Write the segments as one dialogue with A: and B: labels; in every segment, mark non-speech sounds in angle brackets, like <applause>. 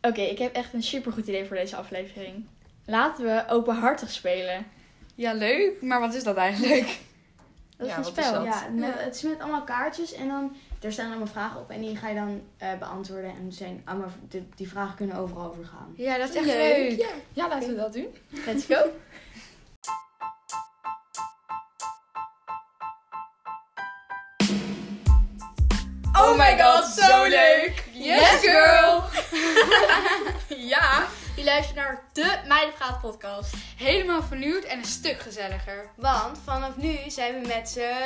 A: Oké, ik heb echt een supergoed idee voor deze aflevering. Laten we openhartig spelen.
B: Ja, leuk. Maar wat is dat eigenlijk?
A: Dat is
B: Ja,
A: een
B: wat is
A: spel.
B: dat?
C: Ja, met-
A: Ja.
C: het is met allemaal kaartjes en dan er staan allemaal vragen op en die ga je dan eh, beantwoorden. En zijn allemaal, die, die vragen kunnen overal over gaan.
B: Ja, dat is echt leuk. Oh
D: Ja. ja, laten we dat doen.
A: Let's
B: <laughs>
A: go.
B: Oh my god, zo leuk. Yes, girl. <laughs>
A: <laughs>
B: ja.
D: Je luistert naar de Meidenpraat podcast.
B: Helemaal vernieuwd en een stuk gezelliger.
D: Want vanaf nu zijn we met z'n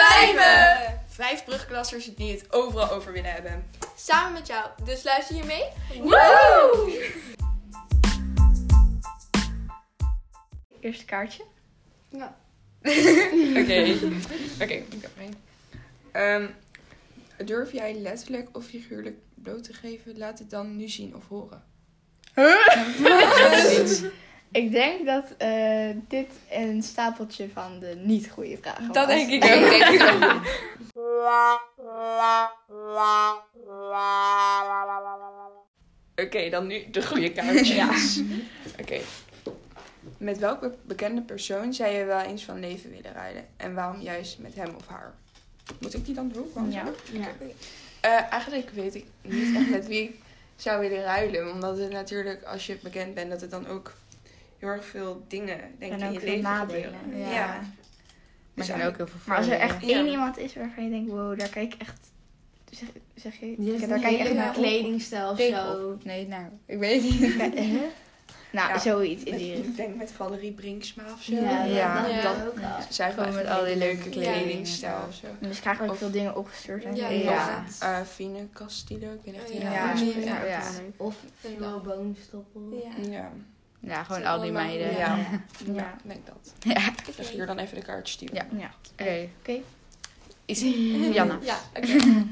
B: Vijven. Vijf brugklassers die het overal over willen hebben.
D: Samen met jou. Dus luister je mee?
B: Woe!
A: Eerste kaartje.
B: Oké. Oké, ik heb er één.
E: Ehm, durf jij letterlijk of figuurlijk bloot te geven? Laat het dan nu zien of horen.
A: Ik denk dat eh, dit een stapeltje van de niet goede vragen was.
B: Dat denk
A: <laughs>
B: ik ook. Denk <laughs> ik ook.
E: Oké, dan nu de goede kaartjes. <laughs> Oké. Met welke bekende persoon zou je wel eens van leven willen rijden? En waarom juist met hem of haar? Moet ik die dan doen? Waarom
A: Ja.
E: zou ik-
C: Ja.
E: Eh, eigenlijk weet ik niet echt met wie ik zou willen ruilen. Omdat het natuurlijk, als je bekend bent, dat het dan ook heel erg veel dingen denk ik,
A: En
E: in
A: ook
E: je
A: veel
E: leven
A: nadelen.
E: gebeuren.
A: Ja.
E: Dus
B: Maar er zijn ook heel veel
A: Maar als er echt
E: Ja.
A: één iemand is waarvan je denkt, wow, daar kijk ik echt... Zeg, zeg je?
C: Je hebt
A: daar
C: een
A: kijk ik echt
C: hele
A: naar op.
C: kledingstijl of zo.
B: Nee, nou, ik weet het niet.
A: Kijk, hè? Nou,
E: Ja.
A: zoiets in
E: Met-
A: die
E: ik denk met Valerie Brinksma of zo.
C: Ja,
B: Ja.
C: dat-
D: Ja.
C: dat ook wel.
E: Zij heeft
B: Gewoon
E: echt
B: met
E: een
B: al die
E: hele
B: leuke
E: kledingstijl
B: kleding.
E: of zo.
A: Dus krijgen we ook
E: Of-
A: veel dingen opgestuurd. Hè?
D: Ja.
B: Ja.
E: Eh Fine Castillo, ik ben echt heel
D: Ja.
E: erg
B: Ja.
E: fan.
B: Ja.
E: Ja.
B: Ja.
C: Of Flo Boomstoppel.
E: Ja.
B: Ja, gewoon al die meiden.
E: Ja.
B: Ja.
A: Ja.
E: ik denk dat.
B: Ja.
E: Ik zeg hier dan even de kaartjes die we-
B: Ja.
A: Ja.
B: Oké.
A: Oké.
B: Janna.
D: Ja, oké.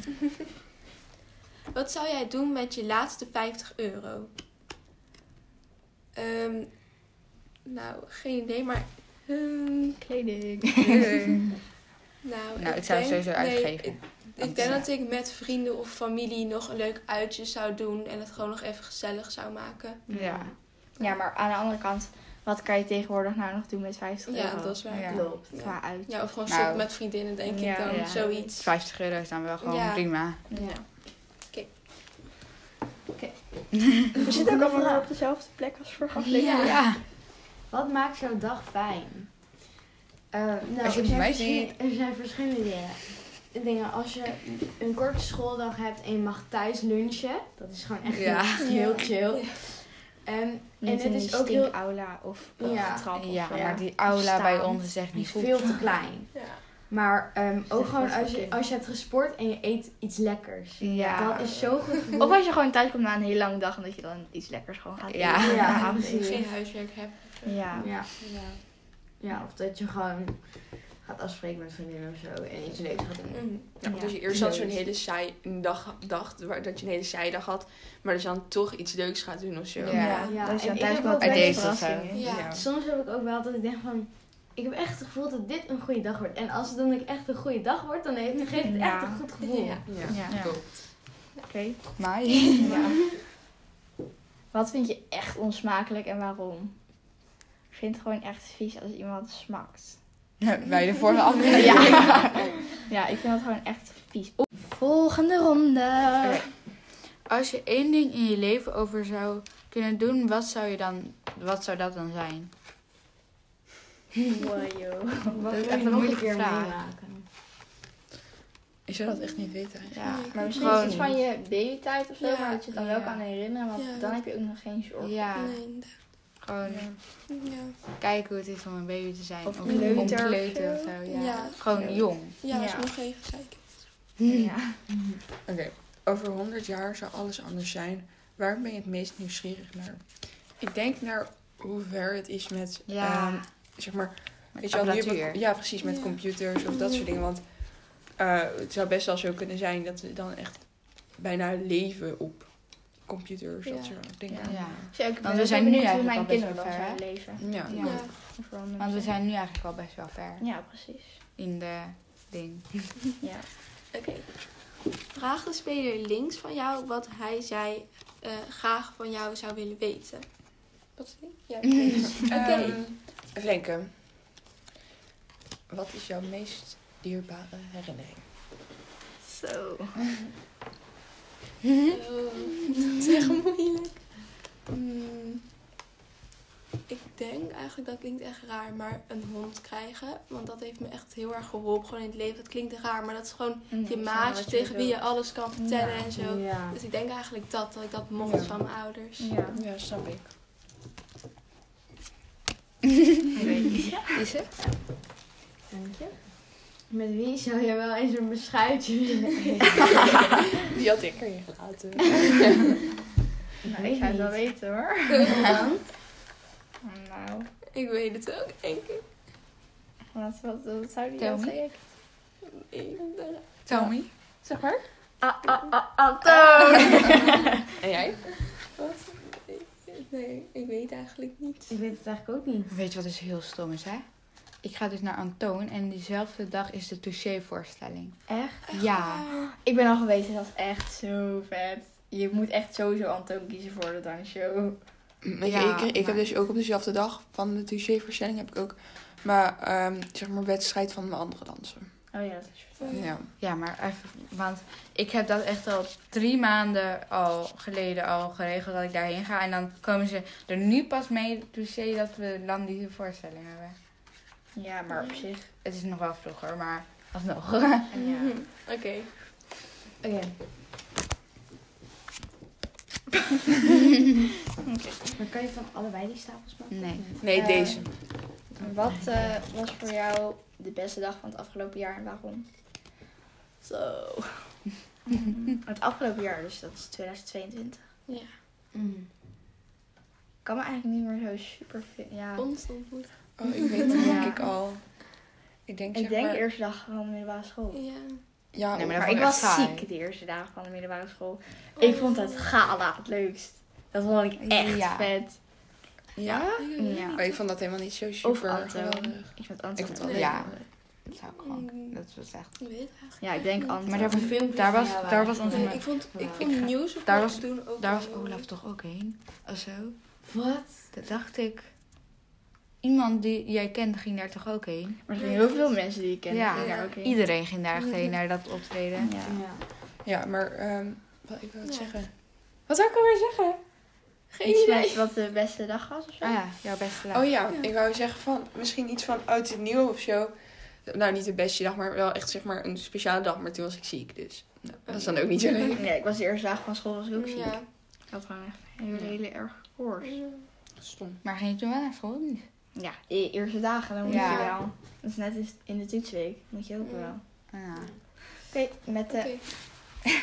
D: <laughs> Wat zou jij doen met je laatste 50 euro? Ehm, nou, geen idee, maar... ehm,
A: <laughs> Kleding.
D: nou,
B: Nou, ik zou het
D: denk-
B: sowieso
D: nee,
B: uitgeven.
D: ik- Ik,
B: Want,
D: denk
B: ja.
D: dat ik met vrienden of familie nog een leuk uitje zou doen. En het gewoon nog even gezellig zou maken.
B: Ja.
A: Ja, maar aan de andere kant, wat kan je tegenwoordig nou nog doen met 50
D: Ja,
A: euro?
D: dat is
B: Ja.
D: waar. Ja,
C: Klopt.
D: ja.
A: Qua uit.
D: of gewoon
B: Nou,
D: sop met vriendinnen, denk
A: ja,
D: ik dan.
B: ja.
D: Zoiets.
B: 50 euro is dan wel gewoon
D: Ja.
B: prima.
A: Ja.
D: Oké.
C: Oké.
A: <laughs> We zitten ook allemaal op dezelfde plek als vorige aflevering.
D: Ja.
C: Wat maakt jouw dag fijn? Eh, nou,
B: Als je
C: er,
B: mij
C: zijn verschillen- er zijn verschillende dingen. dingen. Als je een korte schooldag hebt en je mag thuis lunchen, dat is gewoon echt Ehm,
B: Ja.
C: heel chill. En, en
A: Niet
C: het
A: in
C: is
A: die
C: ook heel,
A: aula of
C: Ja.
A: ja. trap. of
B: Ja,
A: zo.
B: maar die aula
C: Staan.
B: bij ons is echt
C: die
B: niet
C: is
B: goed.
C: veel te klein.
D: <laughs> Ja.
C: Maar ehm, ook gewoon
A: voor
C: als je,
A: kinderen.
C: als je hebt gesport en je eet iets lekkers.
B: Ja.
C: Dat is zo goed. gevoel.
A: Of als je gewoon thuis komt na een hele lange dag en dat je dan iets lekkers gewoon gaat
B: Ja.
A: eten.
C: Ja,
A: Ja.
C: precies.
D: Geen huiswerk hebben.
A: Ja.
C: ja.
D: Ja.
C: ja, of dat je gewoon gaat afspreken met vriendinnen of zo en iets leuks gaat doen.
D: Mhm.
E: Ja, want als je eerst dan zo'n hele saai een dag dacht, waar, dat je een hele saai dag had, maar dus dan toch iets leuks gaat doen of zo.
B: Ja.
C: Ja,
A: Dat is
C: en
A: dan
C: ik
A: thuis
C: heb
A: wel
C: ook
A: een
B: wel eens-
A: verrassing. in.
D: Ja.
C: Soms heb ik ook wel dat ik denk van... Ik heb echt het gevoel dat dit een goede dag wordt. En als het dan ook echt een goede dag wordt, dan heeft- geeft het
A: Ja.
C: echt een goed gevoel.
D: Ja.
E: Ja.
A: Ja.
B: Cool.
A: Oké.
B: Maar
A: Ja. Wat vind je echt onsmakelijk en waarom? Ik vind het gewoon echt vies als iemand smakt.
B: bij de vorige
A: <laughs>
B: aflevering.
A: Ja. Ja, ik vind dat gewoon echt vies. Oeh. Volgende ronde.
B: Als je één ding in je leven over zou kunnen doen, wat zou, je dan, wat zou dat dan zijn?
A: Wow, joh.
B: Wat
C: wil je nog keer meemaken.
E: Ik zou dat echt niet weten.
B: Ja,
D: Nee, ik
B: maar
D: weet
A: Misschien is
B: gewoon...
A: het van je babytijd of zo,
D: Ja.
A: maar dat je het dan wel
B: Ja.
A: kan herinneren. Want
D: Ja.
A: dan heb je ook nog geen zorg.
B: Ja,
D: Nee, inderdaad.
B: gewoon
D: ja.
B: kijken hoe het is om een baby te zijn.
A: Of
B: om
A: kleuter
B: om
A: of
B: kleuter
A: zo.
B: of zo. Ja.
D: Ja.
B: Gewoon jong.
D: Ja, als
A: Ja.
D: je nog even kijken.
A: Ja.
E: Oké, over 100 jaar zou alles anders zijn. Waar ben je het meest nieuwsgierig naar? Ik denk naar hoe ver het is met,
B: Ja.
E: ehm, zeg maar,
B: Met
E: Weet je wel, nu heb ik-
B: apparatuur.
E: ja, precies, met
D: Ja.
E: computers of dat soort dingen. Want eh, het zou best wel zo kunnen zijn dat we dan echt bijna leven op computers.
D: Ja.
E: Dat soort dingen.
B: Ja.
A: Dus ik ben
B: we
A: ook
B: zijn
A: wel
B: nu
A: benieuwd hoe
B: eigenlijk al
A: mijn
B: best
A: kinderen
B: wel
A: dan
B: ver,
A: zijn
B: hè?
A: leven.
E: Ja.
B: Ja.
D: Ja.
A: Of random
B: Want we
A: zijn.
B: zijn nu eigenlijk al best wel ver
A: Ja, precies.
B: in de ding.
A: Ja.
D: Oké. Vraag de speler links van jou wat hij, zij eh, graag van jou zou willen weten? Wat vind jij? Kees? Oké.
E: Ehm, even denken. Wat is jouw meest dierbare herinnering?
A: Zo.
D: <laughs> Oh, dat is echt moeilijk. Hmm. Ik denk eigenlijk, dat klinkt echt raar, maar een hond krijgen. Want dat heeft me echt heel erg geholpen gewoon in het leven. Dat klinkt raar, maar dat is gewoon je maatje tegen wie je alles kan vertellen en zo.
C: Ja.
D: Dus ik denk eigenlijk dat, dat ik dat mocht
E: Ja.
D: van mijn ouders.
A: Ja.
E: Ja, snap <laughs> ik.
B: Is het?
C: Dank je. Met wie zou je wel eens een beschuitje willen eten?
E: Die had ik erin gelaten.
A: Nou, ik ga het wel weten hoor.
C: Dan?
A: Nou,
D: Ik weet het ook, denk ik.
A: wat, wat, wat zou die
B: Tell
A: dan
B: me.
A: zeggen?
D: Ik ben-
B: Tell me.
E: Zeg maar.
A: Ah, ah, ah, <laughs> Antoon!
E: En jij?
D: Wat? Nee, ik weet eigenlijk niet.
C: Ik weet het eigenlijk ook niet.
B: Weet je wat dus heel stom is, hè? Ik ga dus naar Antoon en diezelfde dag is de Touché-voorstelling.
A: Echt?
B: Ja.
A: Ik ben al geweest, dat is echt zo vet. Je moet echt sowieso Antoon kiezen voor de dansshow.
E: Ik,
B: Ja,
E: ik, ik heb
B: maar-
E: dus ook op dezelfde dag van de touché-voorstelling heb ik ook... Maar, ehm, zeg maar, wedstrijd van mijn andere dansen.
A: Oh ja, dat is
E: Ja.
B: Ja, maar even, want ik heb dat echt al drie maanden al geleden al geregeld dat ik daarheen ga. En dan komen ze er nu pas mee, Touché, dat we dan die voorstelling hebben.
A: Ja, maar op zich.
B: Het is nog wel vroeger, maar alsnog. <laughs>
A: Ja.
D: Oké.
C: Oké. Maar kan je van allebei die stapels maken?
B: Nee.
E: Nee,
A: Eh,
E: deze.
A: Wat eh, was voor jou de beste dag van het afgelopen jaar en waarom? Zo. <laughs> het afgelopen jaar, dus dat is 2022.
D: Ja.
B: mm.
A: Ik kan me eigenlijk niet meer zo super veel. Ja.
D: Ons ontmoet.
E: Oh, ik weet <laughs> het
B: Ja.
E: denk ik al. Ik denk,
A: Ik
E: zeg
A: denk
E: maar-
A: eerste dag van de middelbare school.
D: Ja.
E: Ja,
B: Nee, maar
A: Maar
B: vond
A: ik
B: ik
A: was
B: echt saai.
A: ziek de eerste dagen van de middelbare school. Ik vond
D: Oh.
A: het gala het leukst. Dat vond ik echt
B: Ja.
A: vet.
E: ja?
A: Ja.
E: Oh, ik vond dat helemaal niet zo super
A: Anton.
E: geweldig.
A: Ik vond
E: Ik
A: Anton
E: vond
A: wel
E: het
A: leuk.
B: Ja. Dat zou ik gewoon, dat was echt...
D: Ik weet het eigenlijk.
A: Ja, ik denk
D: niet.
A: Anton.
B: Maar daar was, daar was, daar was onze...
D: Nee, ik vond, ik
C: Ja.
D: vond nieuws op
B: daar was-
D: doen ook
B: Daar
D: wel
B: was
D: heel
B: Olaf
D: leuk.
B: toch ook heen? Of zo?
C: Wat?
B: Dat dacht ik. Iemand die jij kende ging daar toch ook heen?
A: Maar er zijn heel veel mensen die ik ken.
B: Ja.
A: die daar ook heen.
B: Iedereen ging daar echt heen naar dat optreden.
A: Ja.
C: Ja.
E: Ja, maar ehm, wat ik wil
D: Ja.
E: zeggen.
D: Wat zou ik alweer zeggen? Geen
A: Iets
D: idee.
A: met wat de beste dag was of zo.
B: Ah ja, jouw beste laag.
E: Oh ja,
D: Ja.
E: ik wou zeggen van misschien iets van oud en nieuw of zo. Nou, niet de beste dag, maar wel echt zeg maar een speciale dag. Maar toen was ik ziek, dus nou, dat is dan ook niet zo leuk.
A: <laughs> Nee, ik was de eerste dag van school was ik ook ziek.
D: Ja.
A: Ik had gewoon echt een hele, hele erg koorts.
E: Stom.
B: Maar ging je toen wel naar school? of niet?
A: Ja, de E-, eerste dagen, dan moet
B: Ja.
A: je wel. Dat is net in- in de toetsweek, moet je ook
D: Ja.
A: wel.
B: Ja. Oké.
A: Oké, met de...
D: Oké.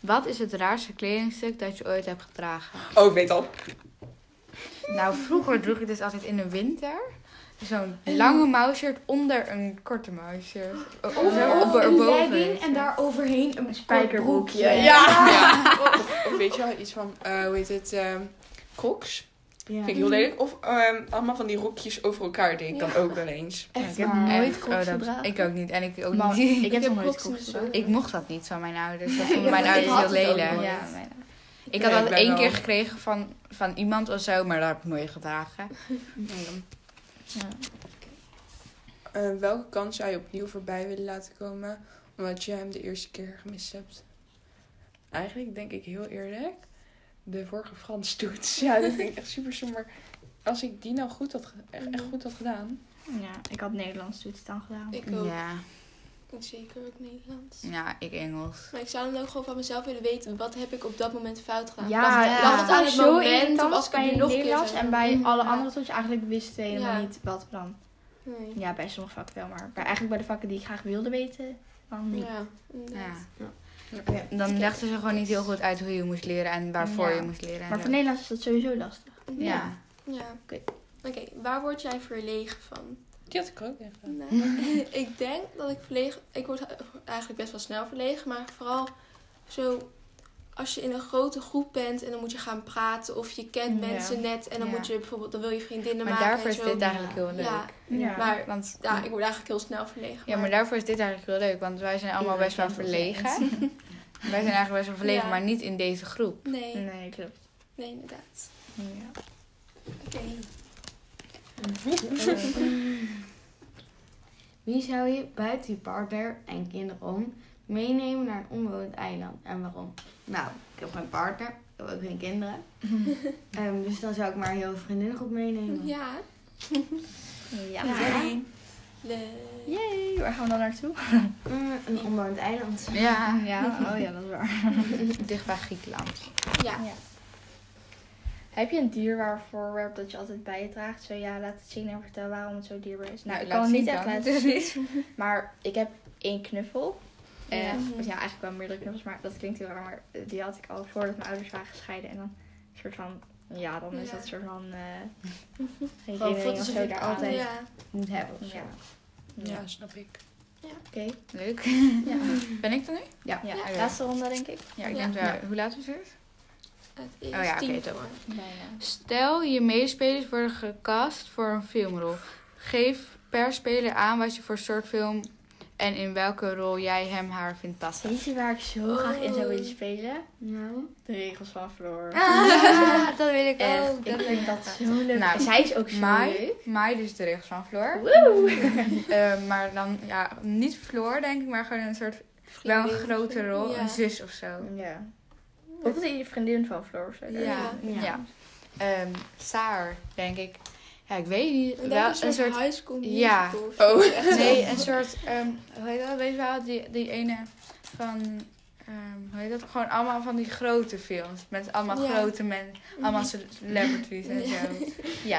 B: Wat is het raarste kledingstuk dat je ooit hebt gedragen?
E: Oh, ik weet al.
B: Nou, vroeger droeg ik dit altijd in de winter. Zo'n lange mouwshirt onder een korte mouwshirt. Eh, Of
C: Of
B: erboven.
C: een legging en daar overheen een
A: spijkerbroekje.
C: broekje.
A: Ja.
E: Ja. <laughs> Of, of weet je wel, iets van, eh, hoe heet het, ehm crocs.
C: Ja.
E: Vind ik heel lelijk. Of ehm, allemaal van die rokjes over elkaar, denk ik dan ook wel eens.
B: Ja,
C: Echt
B: ik heb
C: waar.
B: echt-
A: nooit crocs
B: oh, dat-
A: gedragen.
B: Ik ook niet. En ik ook
A: Man,
B: niet.
A: ik heb nog nooit
D: crocs
A: koers
D: in de
A: gedaan.
D: zomer.
B: <laughs> Ik mocht dat niet van mijn
A: <laughs>
B: ouders. Dat
C: Ja,
B: vonden mijn
C: ik
B: ouders
C: had
B: heel
C: het ook
B: lelijk.
C: nooit.
A: Ja, mijn
B: Ik had
E: Nee, ik
B: dat
E: ben
B: één
E: wel-
B: keer gekregen van, van iemand of zo, maar daar heb ik nooit gedragen.
A: ja.
E: Eh, welke kans zou je opnieuw voorbij willen laten komen, omdat je hem de eerste keer gemist hebt? Eigenlijk denk ik heel eerlijk, de vorige Frans toets. <laughs> Ja, dat vind ik echt super somber. Als ik die nou goed had, ge- echt, echt goed had gedaan.
A: ja, ik had Nederlands toets dan gedaan.
D: Ik ook.
B: Ja,
D: Zeker ook Nederlands.
B: ja, ik Engels.
D: Maar ik zou dan ook gewoon van mezelf willen weten. Wat heb ik op dat moment fout gedaan?
A: Ja,
D: was,
B: ja.
D: lag het aan het
A: zo
D: moment of
A: irritant
D: was ik
A: bij
D: er
A: je
D: nog een keer
A: Nederlands
D: zo?
A: en bij alle
D: Ja.
A: andere toetsen eigenlijk wist je helemaal
D: Ja.
A: niet wat dan.
D: Nee.
A: Ja, bij sommige vakken wel, maar bij, eigenlijk bij de vakken die ik graag wilde weten, dan niet.
D: Ja,
B: Ja.
D: inderdaad.
B: Dan legden ze gewoon niet heel goed uit hoe je moest leren en waarvoor
A: Ja.
B: je moest leren. en
A: Maar
B: zo.
A: voor Nederlands is dat sowieso lastig.
B: ja.
D: Ja.
A: Oké.
D: Oké, waar word jij verlegen van?
E: Die had ik er ook echt gedaan.
D: Nou, ik denk dat ik verlegen... Ik word eigenlijk best wel snel verlegen. Maar vooral zo... Als je in een grote groep bent en dan moet je gaan praten. Of je kent
A: Ja.
D: mensen net. En dan
B: Ja.
D: moet je bijvoorbeeld... Dan wil je vriendinnen
B: Maar
D: maken
B: daarvoor
D: en
B: is
D: zo.
B: dit eigenlijk heel leuk.
D: Ja.
A: Ja.
D: Maar
B: Want,
D: ja, ik word eigenlijk heel snel verlegen.
B: ja, maar daarvoor is dit eigenlijk heel leuk, want wij zijn allemaal best wel verlegen. Wij zijn eigenlijk best wel verlegen,
D: Ja.
B: maar niet in deze groep.
D: Nee, nee,
A: Nee, klopt.
D: inderdaad.
B: Ja.
D: Oké.
C: <laughs> Wie zou je buiten je partner en kinderen om meenemen naar een onbewoond eiland en waarom? Nou, ik heb geen partner, ik heb ook geen
A: <laughs>
C: kinderen. Ehm, dus dan zou ik maar heel veel vriendinnengroep meenemen.
D: Ja.
A: Ja.
D: Leuk.
A: Yay, waar gaan we dan naartoe?
C: Mm, een onbewoond eiland.
B: Ja, <laughs>
A: Ja, oh ja, dat is waar.
B: dicht bij Griekenland.
D: Ja.
A: Heb je een dier waarvoorwerp dat je altijd bij je draagt? Zo ja, laat het zien en vertel waarom het zo dierbaar is. Nou, ik kan
B: laat
A: het niet
B: zien
A: echt
B: dan.
A: laten
B: Het is <laughs>
A: zien.
B: niet.
A: Maar ik heb één knuffel. Eh,
D: Ja.
A: of ja, eigenlijk wel meerdere knuffels, maar dat klinkt heel raar. Maar eh, die had ik al voordat mijn ouders waren gescheiden. En dan een soort van, ja, dan is
D: Ja.
A: dat een soort van... eh geen
C: Gewoon
A: herinnering of
C: foto's
A: zo
C: die ik
A: daar
C: aan-
A: altijd. Ja.
D: Ja.
C: Moet hebben of zo.
A: Ja.
E: Ja, snap ik.
A: Oké.
B: Leuk.
A: Ja.
B: <laughs> Ben ik er nu?
A: Ja,
B: oké.
A: laatste ronde denk ik.
B: Ja, ik
D: Ja.
B: denk wel. Hoe laat is het?
D: Het is
B: Oh ja, oké,
D: tien
B: het ook.
D: voor.
A: Bijna.
B: Stel, je medespelers worden gecast voor een filmrol. Geef per speler aan wat je voor soort film en in welke rol jij hem haar vindt passen. <laughs>
A: Weet je waar ik zo graag in zou willen
D: Oh.
A: spelen?
C: Nou,
A: De regels van Floor. <laughs>
B: <laughs> Ah, dat weet ik
A: Echt,
B: ook.
A: ik
B: Dat
A: vind
B: weet
A: dat zo leuk.
B: Nou,
A: Zij is ook zo
B: Mai,
A: leuk.
B: Mai, dus de regels van <laughs> Floor.
A: Woe! <laughs>
B: Eh, maar dan, ja, niet Floor denk ik, maar gewoon een soort, wel een
D: Vriendin.
B: grote rol,
D: Ja.
B: een zus of zo.
A: Ja. Of is die vriendin van Floor of zo?
B: Ja, ja.
D: Ja.
B: Ehm, Saar, denk ik. Ja, ik weet niet.
D: Ik denk
B: Wel
D: een soort, high school
B: Ja.
D: musical.
E: Oh.
D: <laughs>
B: Nee, een soort, ehm, hoe heet dat, weet je wel, die, die ene van, ehm, hoe heet dat, gewoon allemaal van die grote films. Met allemaal
D: Ja.
B: grote mensen, allemaal celebrities en
A: <laughs>
D: Ja.
B: zo. Ja, dat
A: Mhm. Weet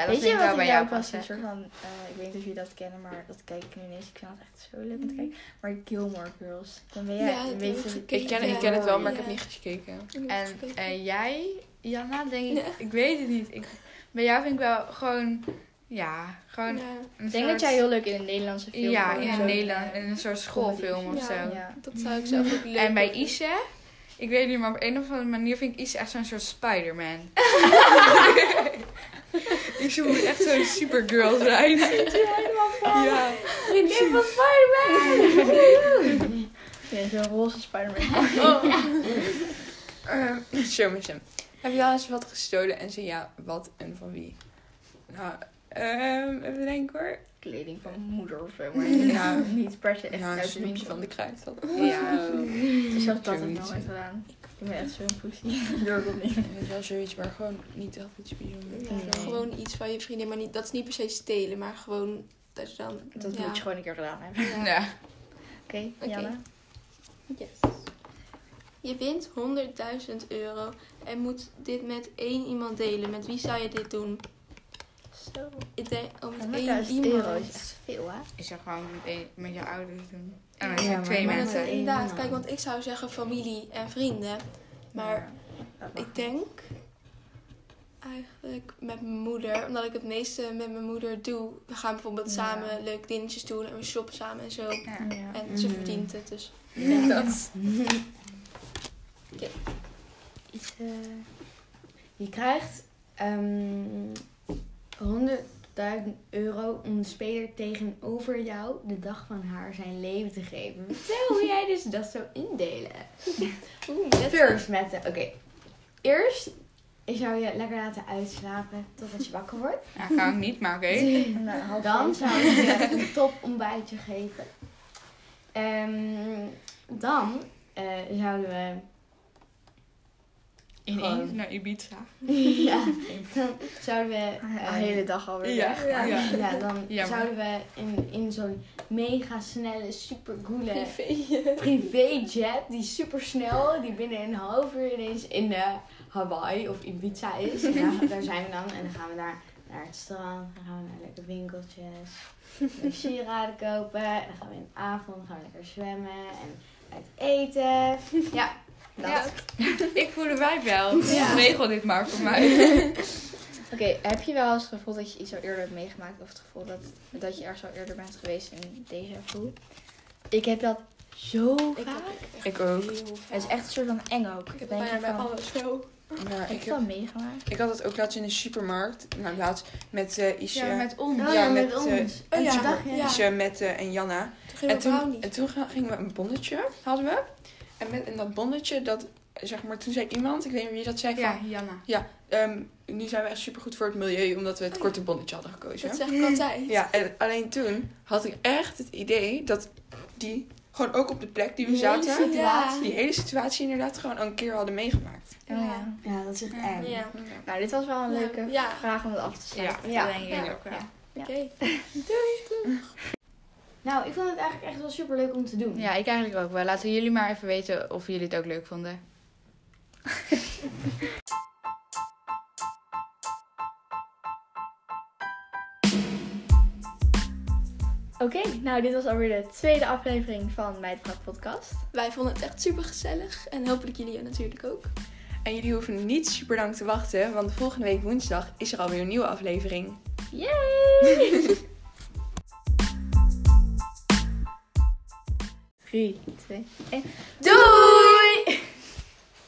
B: vind
A: je
B: ik
A: wat
B: wel
A: ik
B: bij
A: jou
B: jou
A: pas een
B: passen.
A: soort van, eh, ik weet niet of jullie dat kennen, maar dat kijk ik nu ineens. Ik vind dat echt zo leuk om te kijken. Maar Gilmore Girls, dan ben jij
D: Ja,
A: een
D: dat heb ik
A: beetje...
D: gekeken.
E: Ik ken, ik ken het wel, maar ik heb niet <laughs> gekeken.
B: En eh, jij, Janna, denk ik, ik weet het niet. Ik, bij jou vind ik wel gewoon, ja, gewoon
D: Ja,
B: een
A: Ik denk dat
B: soort-
A: jij heel leuk in een Nederlandse film
B: Ja,
A: wordt,
B: in
A: zo.
D: een
B: Nederland, in een soort schoolfilm of zo.
D: Ja.
A: Ja.
D: dat zou ik zelf ook leuk
B: En bij
D: vinden.
B: Ise, ik weet niet, maar op een of andere manier vind ik Ise echt zo'n soort Spider-Man. Ise moet echt zo'n supergirl
E: <laughs>
B: zijn. Ja.
A: Vriendin van Spider-Man! ja, zo'n roze Spider-Man.
E: Eh, <clears throat> Show me some. Heb je wel eens wat gestolen en zo ja, wat en van wie? Nou, ehm, even denken hoor.
A: Kleding van mijn moeder of zo, maar ja, niet per se echt
E: Ja, een
A: uit de
E: snoepje
A: winkel.
E: van de kruid. dan.
A: Ja. Dus zelfs dat heb ik
E: Zoiets.
A: nooit gedaan. Ik ben echt zo'n poesie. Door dat niet.
E: Het is wel zoiets, maar gewoon niet echt iets bijzonders.
D: Ja,
A: Nee.
D: Gewoon iets van je vriendin, maar niet, dat is niet per se stelen, maar gewoon dat je dan...
A: Dat
D: ja.
A: moet je gewoon een keer gedaan hebben.
B: Ja.
A: Oké,
D: Oké.
A: Janne.
D: Yes. Je wint 100.000 euro en moet dit met één iemand delen. Met wie zou je dit doen?
A: Zo.
D: Ik denk, oh, met één
A: 100.000
D: iemand.
A: euro is echt veel, hè?
B: Ik zou gewoon met, een- met je ouders doen. En
C: Ja,
B: met
C: maar-
B: twee
D: Maar dat
B: mensen.
D: is inderdaad,
C: Ja.
D: kijk, want ik zou zeggen familie en vrienden. Maar ik denk eigenlijk met mijn moeder, omdat ik het meeste met mijn moeder doe. We gaan bijvoorbeeld samen leuke dingetjes doen en we shoppen samen en zo.
B: Ja.
D: En ze
C: Mhm.
D: verdient het dus.
E: Dat.
C: Iets, eh, je krijgt ehm 100.000 euro om de speler tegenover jou de dag van haar zijn leven te geven. Vertel hoe jij dus dat zou indelen.
D: Oeh, dat
C: First met de, oké. Eerst ik zou je lekker laten uitslapen totdat je wakker wordt.
B: Ja, kan ik niet, maar oké.
C: Dan zou ik je een top ontbijtje geven. Ehm, dan eh, zouden we
B: Ineens naar Ibiza.
C: ja, dan zouden we.
A: De
C: eh,
A: hele dag alweer weg.
E: Ja.
C: ja.
D: <laughs>
C: dan
B: Jammer.
C: zouden we in, in zo'n mega snelle, super coole
D: privé.
C: privéjet, die super snel, die binnen een half uur ineens in eh, Hawaii of Ibiza is. En daar, daar zijn we dan en dan gaan we daar naar het strand, dan gaan we naar lekkere winkeltjes, leuke sieraden kopen. En dan gaan we in de avond gaan we lekker zwemmen en uit eten. Ja, dat.
B: Ja. Ik voel de vibe wel.
C: Ja.
B: Regel dit maar voor mij.
A: Oké, heb je wel eens het gevoel dat je iets al eerder hebt meegemaakt? Of het gevoel dat, dat je ergens al eerder bent geweest in deze gevoel? Ik heb dat zo
D: Ik
A: vaak.
D: heb
E: Ik ook.
D: heel
A: Het is echt een soort van eng ook.
D: Ik heb
A: Denk
D: bijna
A: je
D: bij
A: van,
D: alles zo.
E: Maar
A: Heb
E: Nou, ik,
A: je
E: heb,
A: dat meegemaakt?
E: ik had het ook laatst in de supermarkt. Nou, laatst met eh Isje.
B: Ja, met ons.
C: Oh ja,
E: Ja,
C: met,
E: met,
C: ons.
E: eh,
D: Oh ja,
C: Een dagje.
D: ja.
E: Isje met eh, en Janna.
D: Toen ging
E: En
D: we
E: toen,
D: brownie.
E: en toen ga- gingen we een bonnetje, hadden we. En En, met, en dat bonnetje, dat, zeg maar, toen zei iemand, ik weet niet wie dat zei,
B: Ja,
E: van...
B: Janna.
E: ehm, nu zijn we echt supergoed voor het milieu, omdat we het
D: Oh, ja.
E: korte bonnetje hadden gekozen.
D: Dat zeg ik altijd.
E: Ja, en alleen toen had ik echt het idee dat die gewoon ook op de plek die we zaten, die hele situatie inderdaad gewoon al een keer hadden meegemaakt.
B: Oh, ja.
C: Ja, dat is echt
B: Ja.
C: eng.
D: Ja.
A: Nou, dit was wel een
D: Ja.
A: leuke
D: Ja.
A: vraag om het af te sluiten.
B: Ja,
A: denk
D: Ja.
A: ik ook. Ja.
D: Oké.
C: Nou, ik vond het eigenlijk echt wel super leuk om te doen.
B: Ja, ik eigenlijk ook wel. Laten jullie maar even weten of jullie het ook leuk vonden.
A: Oké, nou dit was alweer de tweede aflevering van Meidpraat Podcast.
D: Wij vonden het echt super gezellig en hopelijk jullie natuurlijk ook.
E: En jullie hoeven niet super lang te wachten, want volgende week woensdag is er alweer een nieuwe aflevering.
A: Yay! 3, 2, 1. Doei!